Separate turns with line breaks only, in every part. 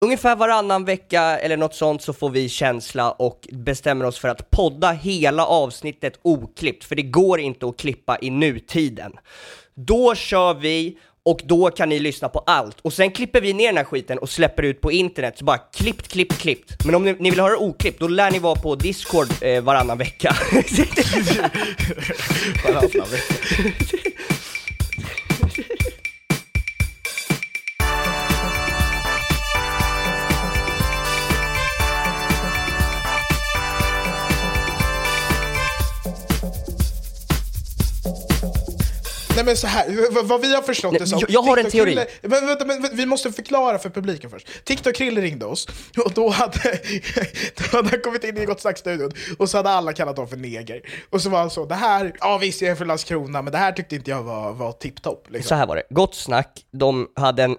Ungefär varannan vecka eller något sånt så får vi känsla och bestämmer oss för att podda hela avsnittet oklippt, för det går inte att klippa i nutiden. Då kör vi och då kan ni lyssna på allt. Och sen klipper vi ner den här skiten och släpper ut på internet, så bara klippt, klippt, klippt. Men om ni, ni vill höra oklippt, då lär ni vara på Discord eh, varannan vecka.
Varannan vecka. Nej men så här, v- v- vad vi har förstått
Nej,
det som...
jag- jag har en
TikTok-Krille-
teori.
Men, vänta, men, men, vi måste förklara för publiken först. TikTok Krill ringde oss, och då hade, då hade han kommit in i Gott Snack-studion, och så hade alla kallat honom för neger. Och så var han så, det här, ja visst jag är från Landskrona, men det här tyckte inte jag var, var tipptopp.
Så
Liksom.
här var det, Gott Snack, de hade en,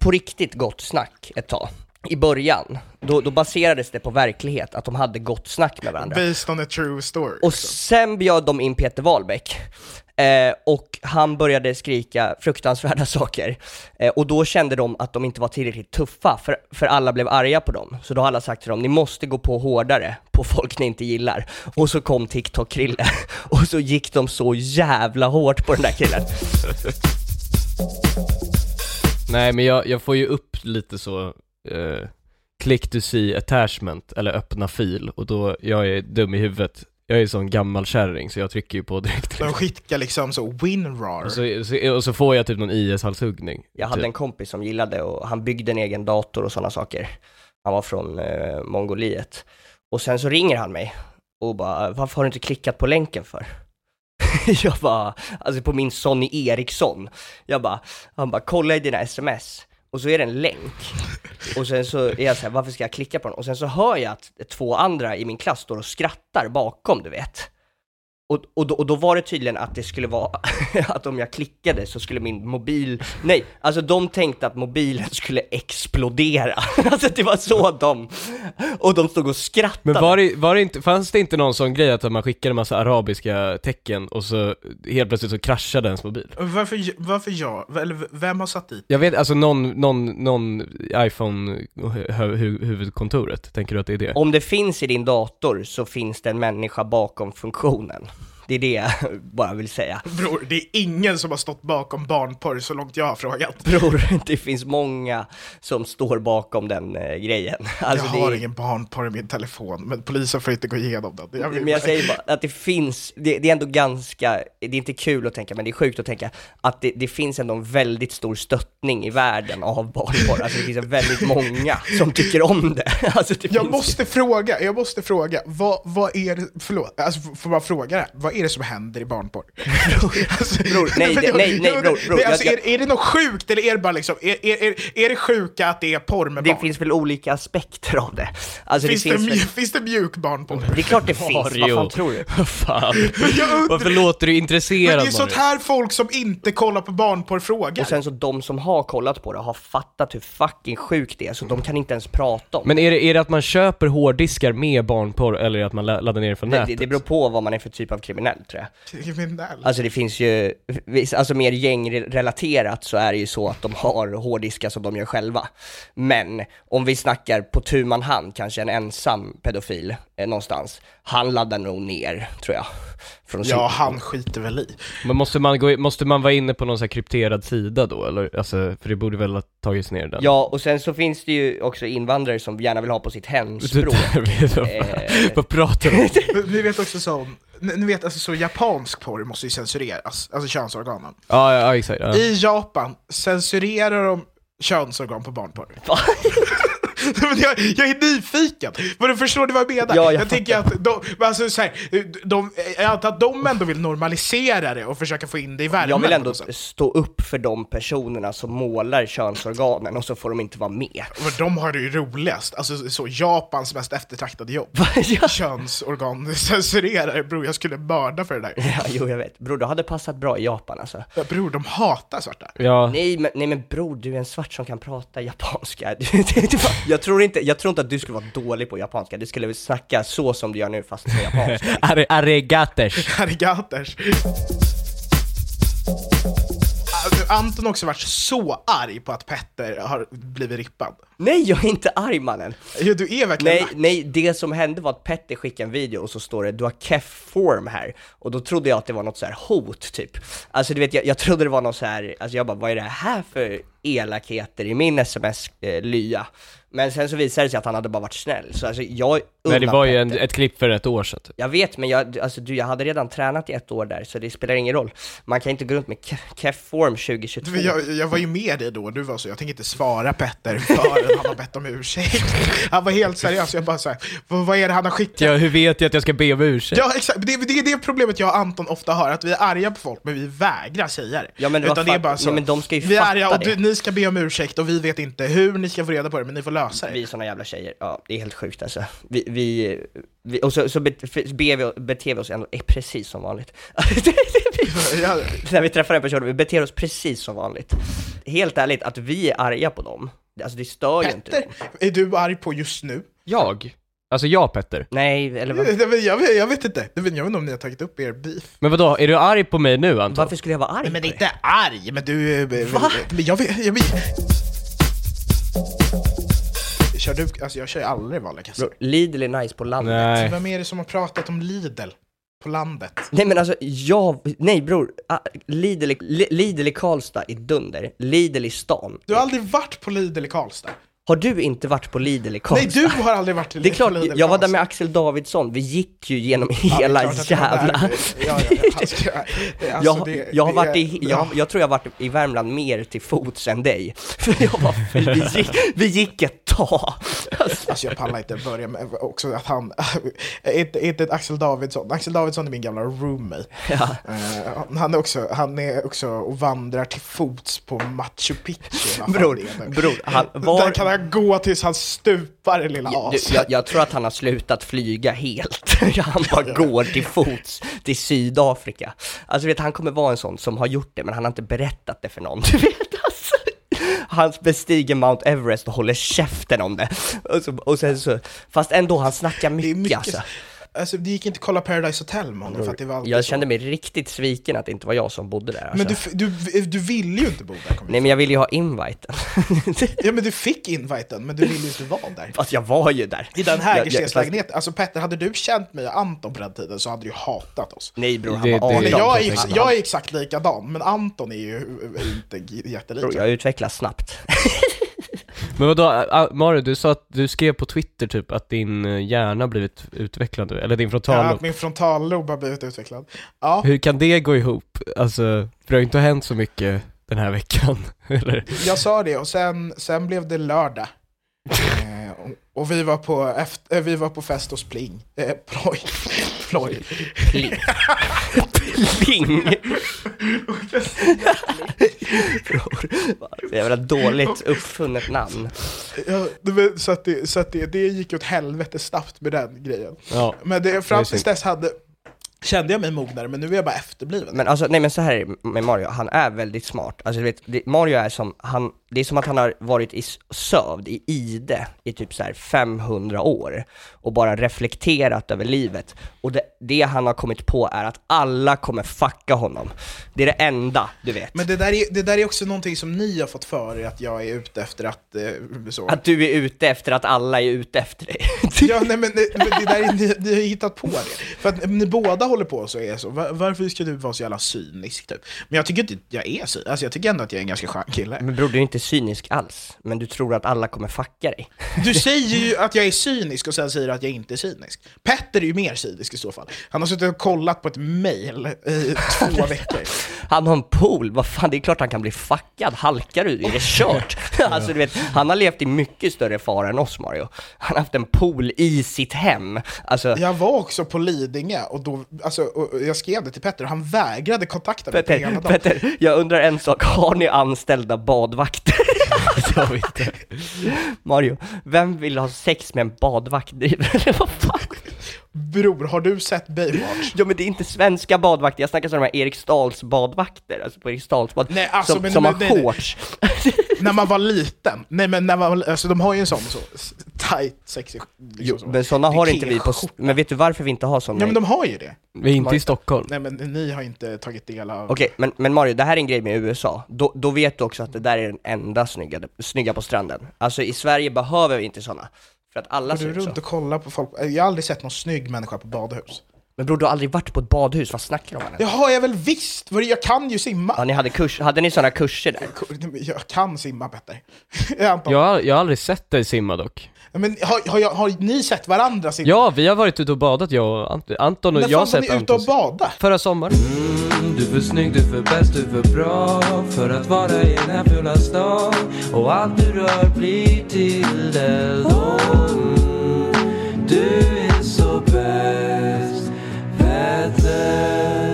på riktigt Gott Snack ett tag. I början, då, då baserades det på verklighet, att de hade gott snack med varandra.
Based on a true story.
Och sen bjöd de in Peter Wahlbeck. Eh, och han började skrika fruktansvärda saker. Eh, och då kände de att de inte var tillräckligt tuffa, för, för alla blev arga på dem. Så då har alla sagt till dem, ni måste gå på hårdare på folk ni inte gillar. Och så kom TikTok-Krille, och så gick de så jävla hårt på den där killen.
Nej men jag, jag får ju upp lite så eh, click to see attachment eller öppna fil och då, jag är dum i huvudet. Jag är sån gammal kärring så jag trycker ju på direkt.
De skickar liksom så WinRAR.
Och så, så, och så får jag typ någon IS-halshuggning.
Jag hade
typ.
en kompis som gillade och han byggde en egen dator och sådana saker. Han var från eh, Mongoliet. Och sen så ringer han mig och bara, varför har du inte klickat på länken för? jag bara, alltså på min Sony Ericsson. Jag bara, han bara, kolla i dina sms. Och så är det en länk. Och sen så är jag så här, varför ska jag klicka på den? Och sen så hör jag att två andra i min klass står och skrattar bakom, du vet. Och, och, då, och då var det tydligen att det skulle vara att om jag klickade så skulle min mobil, nej, alltså de tänkte att mobilen skulle explodera. Alltså det var så de, och de stod och skrattade.
Men var det, var det inte, fanns det inte någon sån grej att man skickade en massa arabiska tecken och så helt plötsligt så kraschade ens mobil?
Varför, varför jag? Eller v- vem har satt dit?
Jag vet, alltså någon, någon, någon iPhone-huvudkontoret, tänker du att det är det?
Om det finns i din dator så finns det en människa bakom funktionen. Det är det jag bara vill säga.
Bror, det är ingen som har stått bakom barnporr så långt jag har frågat.
Bror, det finns många som står bakom den eh, grejen. Alltså,
jag
det
har
är-
ingen barnporr i min telefon, men polisen får inte gå igenom den. Jag vet-
Men jag säger bara att det finns, det, det är ändå ganska, det är inte kul att tänka, men det är sjukt att tänka att det, det finns ändå en väldigt stor stöttning i världen av barnporr. Alltså det finns väldigt många som tycker om det. Alltså det
jag
finns
måste fråga, jag måste fråga, vad, vad är det, förlåt, alltså, f- får man fråga det här? Vad är det som händer i barnporr? alltså,
Bror, nej,
men jag-
nej, nej,
jag-
bror, bror,
men alltså,
jag-
är, är det något sjukt eller är det bara liksom, är, är, är, är det sjuka att det är porr med
det
barn?
finns väl olika aspekter av det. Alltså
finns,
det
det
finns
mjuk,
väl,
finns det mjuk barnporr?
det är klart det finns, vad
Mario.
fan tror du?
Vad fan?
Jag undrar-
Varför låter du intresserad
Men det är sånt
Mario?
här folk som inte kollar på barnporr frågar.
Och sen så de som har kollat på det har fattat hur fucking sjukt det är, så de kan inte ens prata om det.
Men är det, är det att man köper hårddiskar med barnporr eller är det att man la- laddar ner det från
Det,
nätet?
det beror på vad man är för typ av kriminell tror jag.
Kriminell.
Alltså det finns ju, vis- alltså mer gängrelaterat så är det ju så att de har hårddiskar som de gör själva. Men om vi snackar på tu man hand, kanske en ensam pedofil eh, någonstans, han laddar nog ner tror jag. Från sin-
Ja, han skiter väl i.
Men måste man, gå, i- måste man vara inne på någon så här krypterad sida då eller? Alltså, för det borde väl ha tagits ner den?
ja, och sen så finns det ju också invandrare som gärna vill ha på sitt hemspråk. Eh.
Vad, vad pratar du om?
Men Ni vet också sån, ni ni vet alltså så japansk porr måste ju censureras, alltså könsorganen.
ja, ja, ja, exakt. Ja.
I Japan censurerar de könsorgan på barnporr.
Va?
Men jag, jag är nyfiken, men du förstår du vad jag menar?
Ja, jag
jag tänker att de, men alltså så här, de, jag antar att de ändå vill normalisera det och försöka få in det i värmen.
Jag vill
på
ändå
något sätt.
stå upp för de personerna som målar könsorganen och så får de inte vara med.
Men de har det ju roligast, alltså så Japans mest eftertraktade jobb.
Ja.
Könsorgan censurerar, bror jag skulle mörda för det där.
Ja, jo jag vet. Bror, du hade passat bra i Japan alltså.
Bror, de hatar svarta.
ja.
Nej men, nej men bror, du är en svart som kan prata japanska. Du- det- det var- jag, tror inte, jag tror inte att du skulle vara dålig på japanska, du skulle väl snacka så som du gör nu fast på japanska.
Are- Arigaters.
Arigaters. Alltså, Anton har också varit så arg på att Petter har blivit rippad.
Nej, jag är inte arg mannen!
Jo, du är verkligen
Nej,
lack.
nej, det som hände var att Petter skickade en video och så står det 'Du har keff form här' och då trodde jag att det var något så här hot typ. Alltså du vet, jag, jag trodde det var något så här, alltså jag bara 'Vad är det här för elakheter i min sms-lya?' Men sen så visade det sig att han hade bara varit snäll, så alltså jag
Nej det
unnar
var ju en,
Petter.
ett klipp för ett år sedan typ.
Jag vet, men jag, alltså, du, jag hade redan tränat i ett år där, så det spelar ingen roll. Man kan inte gå runt med ke- keff form 2022.
För Jag, jag var ju med dig då, du var så, jag tänker inte svara Petter förrän han har bett om ursäkt. Han var helt seriös, jag bara såhär, vad, vad är det han har skickat?
Ja, hur vet jag att jag ska be om ursäkt?
Ja exakt, det, det är det problemet jag och Anton ofta har, att vi är arga på folk men vi vägrar säga det.
Ja, men vad
Utan det är
fan-
bara så,
ja, men de ska ju
vi är
fatta
arga och du,
det."
ni ska be om ursäkt och vi vet inte hur ni ska få reda på det, men ni får lösa det.
Vi är såna jävla tjejer, ja det är helt sjukt alltså. Vi, vi, vi och så, så bet- be vi, beter vi oss ändå eh, precis som vanligt.
Ja,
När vi träffar en person, vi beter oss precis som vanligt. Helt ärligt, att vi är arga på dem, alltså det stör ju inte
Petter,
dem.
är du arg på just nu?
Jag? Alltså jag Petter?
Nej, eller vad,
Nej, men Jag vet, jag vet inte, jag vet jag vet inte om ni har tagit upp er beef.
Men vadå, är du arg på mig nu Anton?
varför skulle jag vara arg
Men
på dig?
inte arg, men du...
Va?
Men jag vet... Jag vet. Kör du, alltså jag kör ju aldrig vanliga kassor.
Lidl är nice på landet. Nej.
Nej.
Vem är det som har pratat om Lidl på landet?
men alltså jag, nej bror, ah, Lidl, i- Li- Lidl i Karlstad är dunder, Lidl i stan.
Du har aldrig varit på Lidl i Karlstad?
Har du inte varit på Lidl i Karlstad?
Nej, du har aldrig varit på
Det är klart,
Lidl i
jag var där med
Karlstad.
Axel Davidsson, vi gick ju genom
Ja, det är
hela
klart att jag var där.
jävla...
Ja, ja, ja, han ska- det- alltså,
Jag,
det-
jag, har
det-
varit i, jag,
ja.
jag tror jag har varit i Värmland mer till fots än dig. För jag var, vi, gick, vi gick ett tag. Alltså,
Alltså jag pallar inte börja med också att han, inte, inte ett Axel Davidsson, Axel Davidsson är min gamla roommate.
ja.
Eh, han, är också, han är också och vandrar till fots på Machu Picchu. vad fan
Bror,
det är nu.
bror, han
Där
var...
kan han gå tills han stupar, lilla
Jag,
as.
jag, jag tror att han har slutat flyga helt. Han bara går till fots till Sydafrika. Alltså vet, han kommer vara en sån som har gjort det, men han har inte berättat det för någon. Du vet, alltså. Han bestiger Mount Everest och håller käften om det. Och, så, och sen så, fast ändå, han snackar
det är
mycket,
mycket...
alltså.
Alltså, det gick inte att kolla Paradise Hotel med honom för att det var alltid
Jag
så.
kände mig riktigt sviken att det inte var jag som bodde där. Alltså.
Men du, f- du, du ville ju inte bo där. Kom
Nej men jag ville ju ha inviten.
Ja men du fick inviten, men du ville ju inte vara där.
Fast jag var ju där.
I den
Jag-
här
jag-
Gerstenslägenheten, alltså Petter, hade du känt mig och Anton på den tiden så hade du hatat oss.
fast- Nej bror, han
Det-
var
det-
18.
Eller jag är, ju-
Han-
jag är exakt likadan, men Anton är ju eh, inte g-
Bror,
jättelik.
jag utvecklas snabbt.
Men vadå, ah, Mario du sa att du skrev på Twitter typ att din eh, hjärna blivit utvecklad nu, eller din
Ja,
frontallob.
min frontallob har blivit utvecklad. Ja,
Hur kan det gå ihop? Alltså, för det har ju inte hänt så mycket den här veckan, eller?
jag sa det och sen, sen blev det lördag. Eh, och- Och vi var på, efter, eh, vi var på fest hos Pling. Eh, ploj. ploj.
Pling. Pling. Bror, vad jävla dåligt uppfunnet namn.
Ja, det var- så att, det, så att det, det gick åt helvete snabbt med den grejen.
Ja.
Men det, fram tills
synd.
dess hade, kände jag mig mognare, men nu är jag bara efterbliven.
Men alltså, nej men så här är det med Mario, han är väldigt smart. Alltså du vet, det, Mario är som, han, det är som att han har varit i s- sövd, i ide, i typ så här 500 år. Och bara reflekterat över livet. Och det, det han har kommit på är att alla kommer fucka honom. Det är det enda, du vet.
Men det där, är, det där är också någonting som ni har fått för er att jag är ute efter att... Eh, så.
Att du är ute efter att alla är ute efter dig.
Ja, nej, men det, men det där är, ni, ni har ju hittat på det. För att ni båda håller på så är så. Var, varför ska du vara så jävla cynisk typ? Men jag tycker inte att jag är cynisk. Alltså, jag tycker ändå att jag är en ganska skön kille.
Men bror, du är inte cynisk alls, men du tror att alla kommer fucka dig.
Du säger ju att jag är cynisk och sen säger du att jag inte är cynisk. Petter är ju mer cynisk i så fall. Han har suttit och kollat på ett mail i två veckor.
Han har en pool, vad fan, det är klart han kan bli fuckad. Halkar du, är det kört? alltså du vet, han har levt i mycket större fara än oss Mario. Han har haft en pool i sitt hem. Alltså,
Jag var också på Lidingö och då, alltså, och och jag skrev det till Petter och han vägrade kontakta mig på hela
Petter,
dagen.
Petter, jag undrar en sak, har ni anställda badvakter?
Det har vi inte.
Mario, vem vill ha sex med en badvakt? Eller vad fan?
Bror, har du sett Baywatch?
Ja men det är inte svenska badvakter, jag snackar sådana här Eriksdals badvakter, alltså på Eriksdals bad,
Nej, alltså,
som,
men-
som
men-
har
nej, nej.
shorts.
när man var liten. Nej men när man, var- alltså de har ju en sån så, s- tight, sexy liksom
Jo,
så.
men sådana har inte vi på,
Ikea-skjorta.
men vet du varför vi inte har sådana?
Ja men de har ju det.
Vi är inte i Stockholm.
Nej men ni har inte tagit del av...
Okej, men, men Mario, det här är en grej med USA. Då, då vet du också att det där är den enda snygga, snygga på stranden. Alltså i Sverige behöver vi inte sådana. För att alla
Går
ser
du
ut så.
runt och kollar på folk? Jag har aldrig sett någon snygg människa på badhus.
Men bror, du har aldrig varit på ett badhus, vad snackar du om?
Det har jag väl visst! Vad det- Jag kan ju
Ja,
simma!
ni hade kurs, hade ni sådana kurser där?
Jag kan simma bättre. Jag antar.
Jag har, jag har aldrig sett dig simma dock.
Men har, har, jag, har ni sett varandra simma?
Ja, vi har varit ute och badat jag och Anton. Anton och
När
jag har
fan var
sett
ni ute
Anton.
och bada?
Förra sommaren.
Mm, Du är för snygg, du är för bäst, du är för bra för att vara i den här fula stan Och allt du rör blir till eld Mm, Du är så bäst, Petter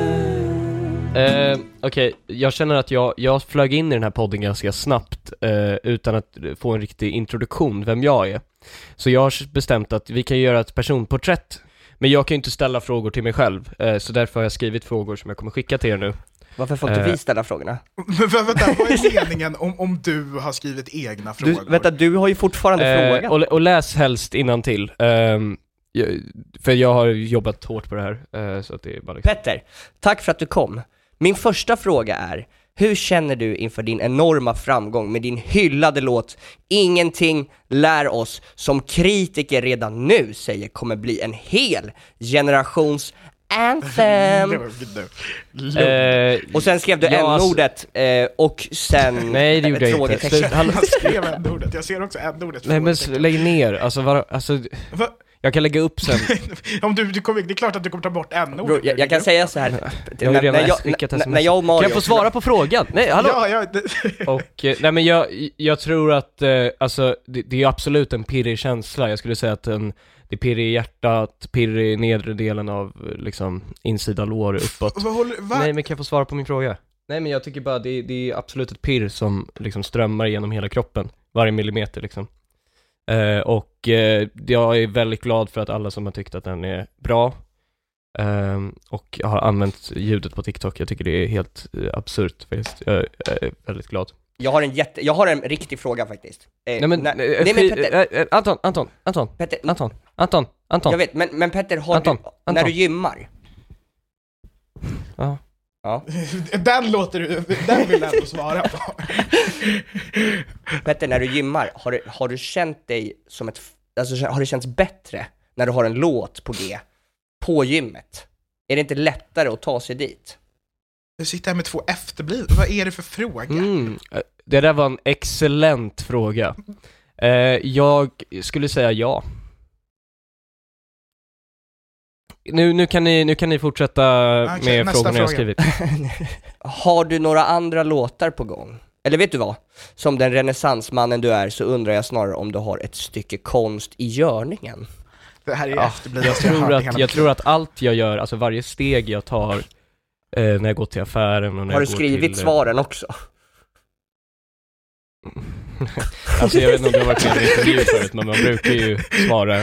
Eh, Okej, jag känner att jag, jag flög in i den här podden ganska snabbt eh, utan att få en riktig introduktion vem jag är. Så jag har bestämt att vi kan göra ett personporträtt, men jag kan ju inte ställa frågor till mig själv, eh, så därför har jag skrivit frågor som jag kommer skicka till er nu.
Varför får inte
Eh.
vi ställa frågorna?
Men vä- vänta, vad är meningen om, om du har skrivit egna
Du,
frågor?
vänta, du har ju fortfarande
Eh,
frågat.
och, och läs helst innantill. Ehm, jag- för jag har jobbat hårt på det här, eh, så att det är bara liksom...
Petter, tack för att du kom. Min första fråga är, hur känner du inför din enorma framgång med din hyllade låt Ingenting lär oss, som kritiker redan nu säger kommer bli en hel generations anthem?
Lugn nu. Lugn.
Eh,
Och sen skrev du
Ja, alltså-
n-ordet eh, och sen...
Nej, det gjorde
ett
jag inte.
frågetecken.
Slut- hallå.
Han skrev ändå ordet jag ser också ändå ordet
Nej men sl- lägg ner, alltså, var, alltså
Va?
jag kan lägga upp sen.
Om du, du kommer, det är klart att du kommer ta bort en
Bro,
ordet
jag, jag kan säga så här.
Jag har ju
när,
redan
när, jag,
skickat
när,
sms.
när jag och Mario...
Kan jag få svara på frågan? Nej, hallå?
Ja, ja, det,
Och, eh, nej men jag, jag tror att, eh, alltså det, det är absolut en pirrig känsla. Jag skulle säga att en, det är pirrig i hjärtat, pirrig i nedre delen av eh, liksom insida lår uppåt.
vad håller, va?
Nej men kan jag få svara på min fråga? Nej men jag tycker bara det, det är absolut ett pirr som liksom strömmar genom hela kroppen, varje millimeter liksom. Eh, och eh, jag är väldigt glad för att alla som har tyckt att den är bra ehm, och jag har använt ljudet på TikTok, jag tycker det är helt eh, absurt faktiskt. Jag, jag är väldigt glad.
Jag har en jätte, jag har en riktig fråga faktiskt. Eh,
Nej men,
när-
eh,
nej, men
skit-
Petter,
eh, eh, Anton, Anton, Anton,
Petter,
Anton, Anton, Anton.
jag vet, men, men Petter, har
Anton,
du,
Anton.
när du gymmar,
Ja.
Den låter du, den vill jag ändå svara på.
Petter, när du gymmar, har du, har du känt dig som ett, f- alltså har det känts bättre när du har en låt på G, på gymmet? Är det inte lättare att ta sig dit?
Du sitter här med två efterblivna, vad är det för fråga?
Mm, eh, det där var en excellent fråga. Eh, jag skulle säga ja. Nu, nu, kan, ni, nu kan ni fortsätta
Okej,
med
nästa
frågorna jag
fråga.
skrivit.
Har du några andra låtar på gång? Eller vet du vad? Som den renässansmannen du är så undrar jag snarare om du har ett stycke konst i görningen.
Det här är
Ja,
efterblivna
Jag tror, att, jag tror att allt jag gör, alltså varje steg jag tar eh, när jag går till affären och när
Har du
jag går
skrivit
till, eh,
svaren också?
Alltså jag vet inte om du har varit med i en intervju förut, men man brukar ju svara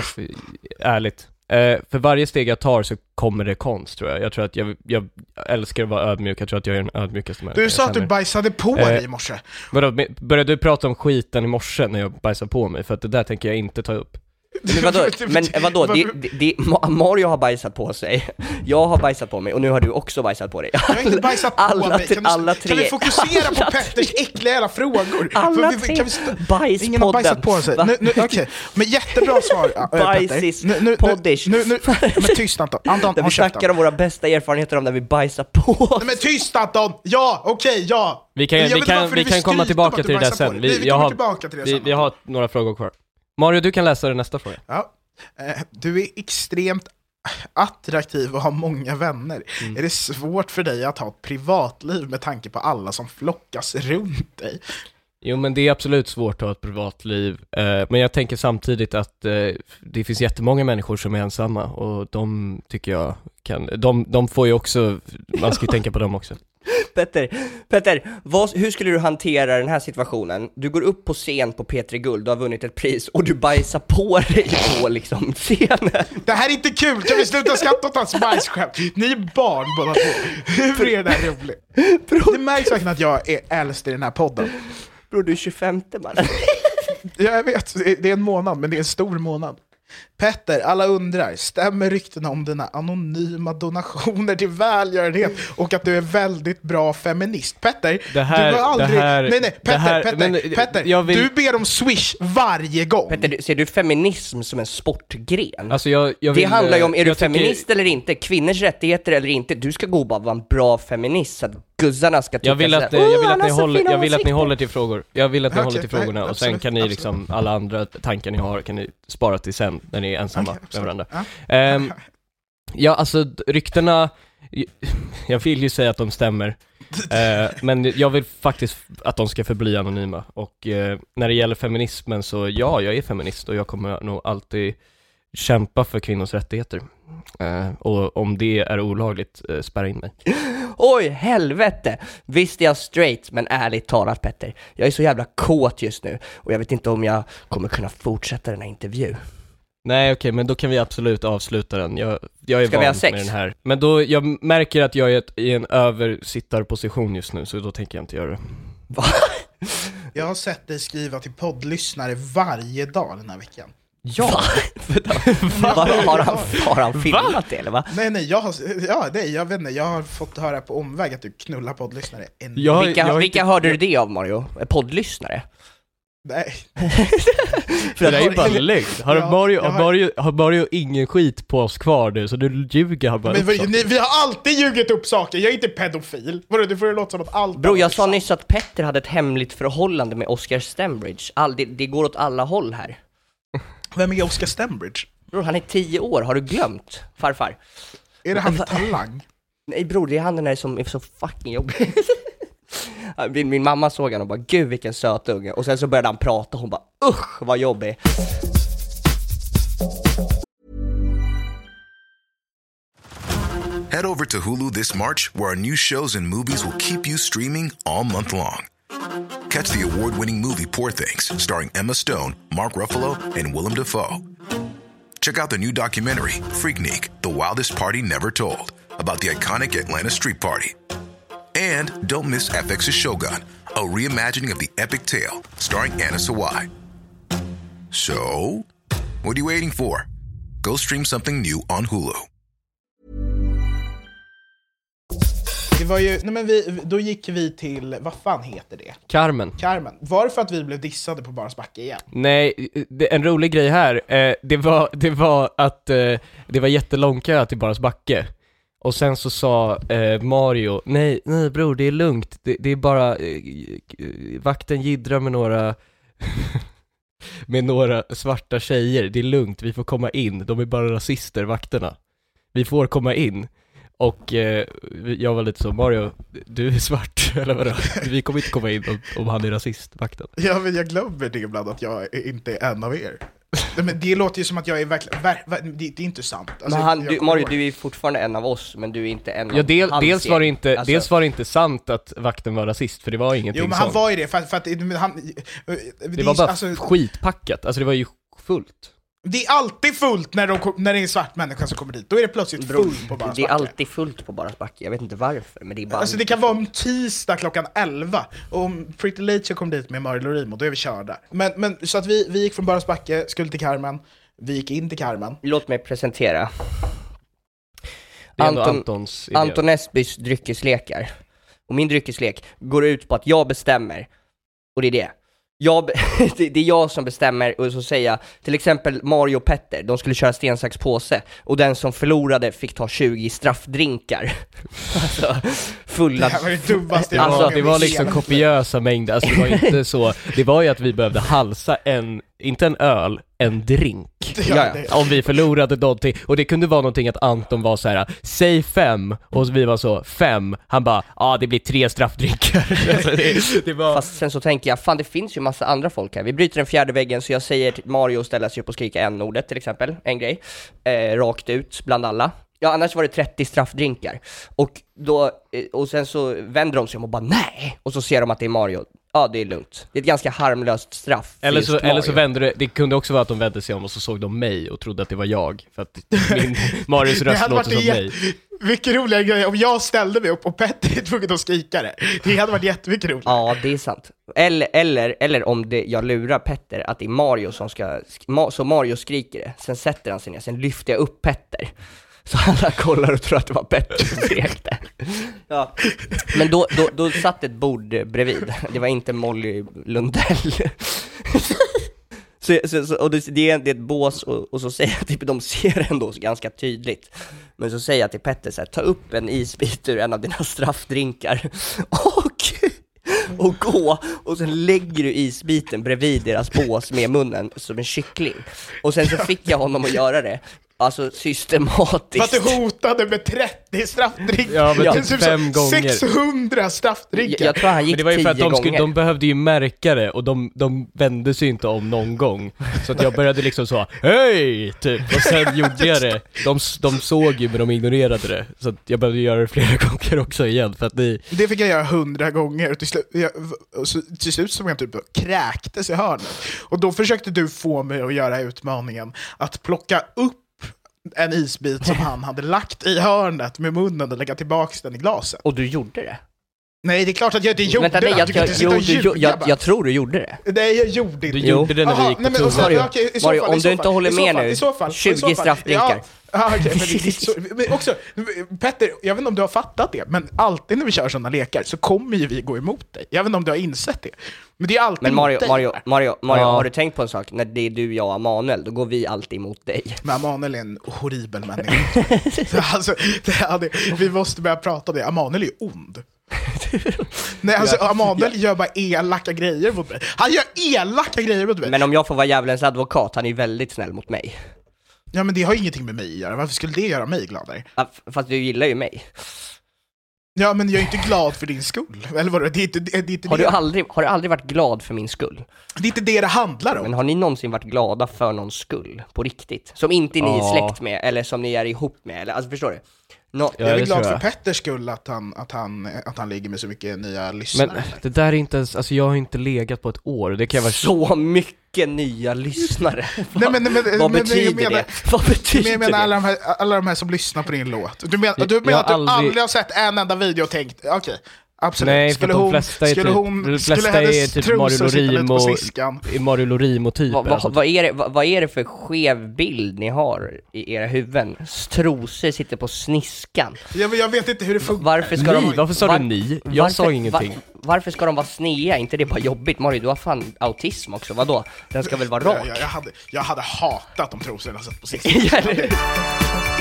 ärligt. Eh, för varje steg jag tar så kommer det konst tror jag. Jag tror att jag, jag älskar att vara ödmjuk, jag tror att jag är den ödmjukaste människan
Du
jag
sa att du
känner.
bajsade på
Eh,
dig i morse.
Vadå, men började du prata om skiten i morse när jag bajsade på mig? För att det där tänker jag inte ta upp.
Men vadå,
typ-
men eh, vadå det, det, det, Ma- Mario har bajsat på sig, jag har bajsat på mig och nu har du också bajsat på dig.
Jag har inte bajsat på
alla
mig.
tre-
Kan, du,
alla
kan vi
tre-
fokusera
alla
på Petters äckliga jävla frågor?
Alla
Kan vi-
tre
kan vi sta-
bajspodden.
Ingen har bajsat på sig.
Va?
Nu, nu, okej. Men jättebra svar äh, Petter.
Bajsis,
Nu- nu- nu-
poddish.
nu- nu- Men tyst Anton. Anton,
Där vi
håll käften.
snackar om våra bästa erfarenheter om när vi bajsar på oss.
Nej men tyst Anton! Ja, okej, ja!
Vi kan,
Men jag
vi
vet inte
kan,
varför
vi
du
kan
vill
komma
skryta om
tillbaka
att
till
du
det där
bajsar på
sen.
dig.
Vi,
Vi,
jag
kommer
har,
tillbaka till det
vi,
sen.
vi har några frågor kvar. Mario, du kan läsa den nästa fråga.
Ja. Eh, Du är extremt attraktiv och har många vänner.
Mm.
Är det svårt för dig att ha ett privatliv med tanke på alla som flockas runt dig?
Jo men det är absolut svårt att ha ett privatliv, eh, men jag tänker samtidigt att eh, det finns jättemånga människor som är ensamma och de tycker jag kan, de, de får ju också, man ska ju tänka på dem också.
Petter, Petter vad, hur skulle du hantera den här situationen? Du går upp på scen på P3 Guld, du har vunnit ett pris och du bajsar på dig på liksom scenen.
Det här är inte kul, kan vi sluta skratta åt hans bajsskämt? Ni är barn båda två. Hur är det här roligt? Det märks verkligen att jag är äldst i den här podden.
Bror du är 25 man.
Ja, jag vet, det är en månad, men det är en stor månad. Petter, alla undrar, stämmer ryktena om dina anonyma donationer till välgörenhet och att du är väldigt bra feminist? Petter,
Det här-
du har aldrig...
det här-
nej, nej, Petter,
det här-
Petter,
men,
Petter,
jag vill-
du ber om swish varje gång.
Petter, du- ser du feminism som en sportgren?
Alltså jag, jag
det
vill,
handlar ju om,
eh,
är du
jag tycker-
feminist eller inte? Kvinnors rättigheter eller inte? Du ska gå och bara vara en bra feminist så att guzzarna ska tycka
Jag vill, att, eh,
sådär, "Åh,
jag, vill
han
att
har
ni
Typ, så
håller,
fina
jag vill att ni
åsikter." typ,
håller till frågor. Jag vill att ni
Okej,
håller till
nej,
frågorna och sen
absolut,
kan ni
absolut.
liksom, alla andra tankar ni har kan ni spara till sen när ni är ensamma
Okej,
med
absolut.
varandra.
Ja.
Ehm, ja, alltså d- ryktena, jag vill ju säga att de stämmer, eh, men jag vill faktiskt att de ska förbli anonyma. Och eh, när det gäller feminismen så, ja, jag är feminist och jag kommer nog alltid kämpa för kvinnors rättigheter. Eh, och om det är olagligt, eh, spärra in mig.
Oj, helvete! Visst är jag straight, men ärligt talat Petter, jag är så jävla kåt just nu och jag vet inte om jag kommer kunna fortsätta den här intervjun.
Nej okej, men då kan vi absolut avsluta den. Jag, jag är
Ska vi
van
ha sex?
med den här. Men då, jag märker att jag är ett, i en översittarposition just nu, så då tänker jag inte göra det.
Jag har sett dig skriva till poddlyssnare varje dag den här veckan.
Ja! Va? Vadå, har, han, har han filmat det eller va?
Nej, nej, jag har, ja, nej, jag vet inte, jag har fått höra på omväg att du knullar poddlyssnare. En,
Jag,
Vilka,
jag,
vilka hörde du det av Mario? Eh, Poddlyssnare?
Nej,
det där är ju bara
Eller-
lögn. Har,
Ja,
Mario,
jag
har,
har-
Mario, har Mario ingen skit på oss kvar nu, så du ljuger han bara
men
upp
vi,
saker.
ni, vi har alltid ljugit upp saker, jag är inte pedofil. Vadå, du får det låta som att allt
Bro,
annat
jag
är
sa
sant.
nyss att Petter hade ett hemligt förhållande med Oscar Stembridge. All, det, det går åt alla håll här.
Vem är Oscar Stembridge?
Bror, han är tio år, har du glömt? Farfar.
Är det han med talang?
Nej bror, det är han den där som är så fucking jobbig. min, min mamma såg han och bara 'Gud vilken söt unge' och sen så började han prata och hon bara 'Usch vad jobbig'
Alltså,
Head over to Hulu this March, where our new shows and movies will keep you streaming all month long. Catch the award winning movie Poor Things, starring Emma Stone, Mark Ruffalo, and Willem Dafoe. Check out the new documentary, Freaknik The Wildest Party Never Told, about the iconic Atlanta Street Party. And don't miss FX's Shogun, a reimagining of the epic tale, starring Anna Sawai. So, what are you waiting for? Go stream something new on Hulu.
Det var ju, nej men vi, då gick vi till, vad fan heter det?
Carmen.
Carmen. Var det för att vi blev dissade på Barns backe igen?
Nej, det, en rolig grej här, eh, det, var, det var att eh, det var jättelång kö till Baras backe. Och sen så sa eh, Mario, nej, nej bror, det är lugnt, det, det är bara, eh, eh, vakten jiddrar med några, med några svarta tjejer, det är lugnt, vi får komma in, de är bara rasister, vakterna. Vi får komma in. Och eh, vi- jag var lite så, Mario, du är svart, eller vadå? Vi kommer inte komma in om, om han är rasist, vakten.
Ja, men jag glömmer det ibland att jag är- inte är en av er. Nej, men det låter ju som att jag är verkligen, ver, ver, det, det är inte sant. Alltså,
Men han,
jag-
du, Mario du är fortfarande en av oss men du är inte en
Ja,
av
del,
hans
dels,
gäng.
var det inte,
Alltså,
dels var det inte sant att vakten var rasist, för det var ingenting
Jo men han
sånt.
var ju det, för, att- för att men han... Det,
det
är-
var bara
alltså,
skitpackat, alltså det var ju fullt.
det är alltid fullt när, de, kom- när det är en svart människa som kommer dit, då är det plötsligt
bror,
fullt på bara
Det är alltid fullt på Baras backe, jag vet inte varför men det är bara
Alltså det kan vara om tisdag klockan 11, och om Pretty Late kom dit med Mario Lorimo, då är vi körda. Men, men så att vi, vi gick från Böras backe, skulle till Carmen, vi gick in till Carmen.
Låt mig presentera
Det är ändå
Anton-
Antons idé.
Anton Esbys dryckeslekar. Och min dryckeslek går ut på att jag bestämmer, och det är det. Jag, be- det det är jag som bestämmer, och så säger jag, till exempel Mario och Petter, de skulle köra sten, sax, påse, och den som förlorade fick ta 20 straffdrinkar. alltså, fulla...
Det här var det dummaste
det,
jag
Alltså,
var,
varit
det
med
var
om i hela
liksom
mitt liv.
kopiösa mängder, alltså det var inte så, det var ju att vi behövde halsa en, inte en öl, en drink.
Ja, ja.
det-
Om vi förlorade någonting, och det kunde vara någonting att Anton var så här: säg fem, och vi var så, fem, han bara, ja ah, det blir tre straffdrinkar. alltså, det, det var...
Fast sen så tänker jag, fan det finns ju massa andra folk här. Vi bryter den fjärde väggen, så jag säger till Mario att ställa sig upp och skrika n-ordet till exempel, en grej. Eh, rakt ut, bland alla. Ja, annars var det 30 straffdrinkar. Och, då, eh, och sen så vänder de sig om och bara nej! Och så ser de att det är Mario. Ja, det är lugnt. Det är ett ganska harmlöst straff för
Eller
just
så, eller så
Mario.
vände det, det kunde också vara att de vände sig om och så såg de mig och trodde att det var jag, för att min Marius
Det
röst
hade
låter
varit
som mig.
jätte... Mycket roligare grej om jag ställde mig upp och Petter är tvungen att skrika det. Det hade varit jättemycket roligt.
Ja, det är sant. Eller, eller, eller om det, jag lurar Petter att det är Mario som ska, sk- Ma, så Mario skriker det, sen sätter han sig ner, sen lyfter jag upp Petter. Så alla kollar och tror att det var Petter som skrek det. Ja. Men då, då, då satt ett bord bredvid, det var inte Molly Lundell. Så, så, så, och det, det, är, det är ett bås och, och så säger jag, typ, de ser det ändå så ganska tydligt. Men så säger jag till Petter så här, ta upp en isbit ur en av dina straffdrinkar och, och gå. Och sen lägger du isbiten bredvid deras bås med munnen som en kyckling. Och sen så fick jag honom att göra det, alltså
För att
systematiskt.
du hotade med 30 straffdrinkar.
Ja, men
Det är
typ
så
fem gånger.
600
Jag,
straffdrinkar.
jag tror han gick
Men det var ju för att
tio
de, skulle,
gånger.
de behövde ju märka det och de, de vände sig inte om någon gång. Så att jag började liksom så hej! Typ. Och sen gjorde jag det. De, s- de såg ju men de ignorerade det. Så att jag behövde göra det flera gånger också igen för att ni...
Det fick jag göra hundra gånger och till slut, jag, och så, till slut så var jag typ och kräktes i hörnet. Och då försökte du få mig att göra utmaningen att plocka upp en isbit som han hade lagt i hörnet med munnen och lägga tillbaka den i glaset.
Och du gjorde det?
Nej, det är klart att jag inte gjorde
Vänta,
det.
nej, jag,
du kan
jag,
inte sitta
jo,
och
du, jo,
ljuga
jag,
bara.
jag tror du gjorde det.
Nej, jag gjorde inte
Du
det.
gjorde det när vi gick på
nej, men, och sen,
Mario,
toa.
okej, i så
Mario,
fall,
om
i så
du inte
fall,
håller
i så
med
fall,
nu,
i så fall, i så
20
fall.
straffdrinkar.
Ja, ah, okej, men, det- så, men också, Petter, jag vet inte om du har fattat det, men alltid när vi kör sådana lekar så kommer ju vi gå emot dig. Jag vet inte om du har insett det. Men det är alltid
Men Mario,
mot dig.
Mario, Mario, Mario,
Ja.
har du tänkt på en sak? När det är du, jag och Manuel, då går vi alltid emot dig.
Men Amanel är en horribel människa. Så alltså, det här, det, vi måste börja prata om det. Amanel är ju ond. Nej, alltså Amanel gör bara elaka grejer mot mig. Han gör elaka grejer mot mig.
Men om jag får vara djävulens advokat, han är ju väldigt snäll mot mig.
Ja, men det har ju ingenting med mig att göra. Varför skulle det göra mig gladare?
Ja, f- Fast du gillar ju mig.
Ja, men jag är inte glad för din skull. Eller vadå? Det är inte det, är inte
Har du,
det,
aldrig, har du aldrig varit glad för min skull?
det, är inte det, det handlar om.
Men har ni någonsin varit glada för någons skull? På riktigt? Som inte ni
Ja.
är släkt med, eller som ni är ihop med, eller alltså förstår du? Nå-
Ja,
jag är
det
väl glad
tror
för
jag.
Petters skull att han, att, han, att han ligger med så mycket nya
Men
lyssnare.
det där är inte ens, alltså jag har inte legat på ett år, det kan jag vara...
Så mycket nya lyssnare!
Nej, men- men- men-
Vad
men jag
betyder
menar-
det? Vad betyder
Men jag menar
det?
alla de, här, alla de här som lyssnar på din låt. Du menar, du
Jag-
menar
jag
att du
aldrig-
aldrig har sett en enda video och tänkt, okej, absolut.
Nej, för de flesta är
skulle
typ-
hon,
de
skulle
flesta
hennes
är typ
trosor
Mario
sitta lite
Lorim
på
och-
sniskan?
I Mario Lorimo-typer.
Vad,
alltså.
vad, vad, är det, vad, vad är det för skev bild ni har i era huvuden? Trosor sitter på sniskan.
Ja, men jag vet inte hur det funkar.
Varför ska
Ni?
de...
Varför sa du ni? Jag sa ingenting.
varför ska de vara snea? inte det bara jobbigt? Mario, du har fan autism också, vadå? Den ska väl vara
Jag,
rak?
jag, jag, hade, jag hade hatat om trosorna satt på sniskan.
Ja, eller hur?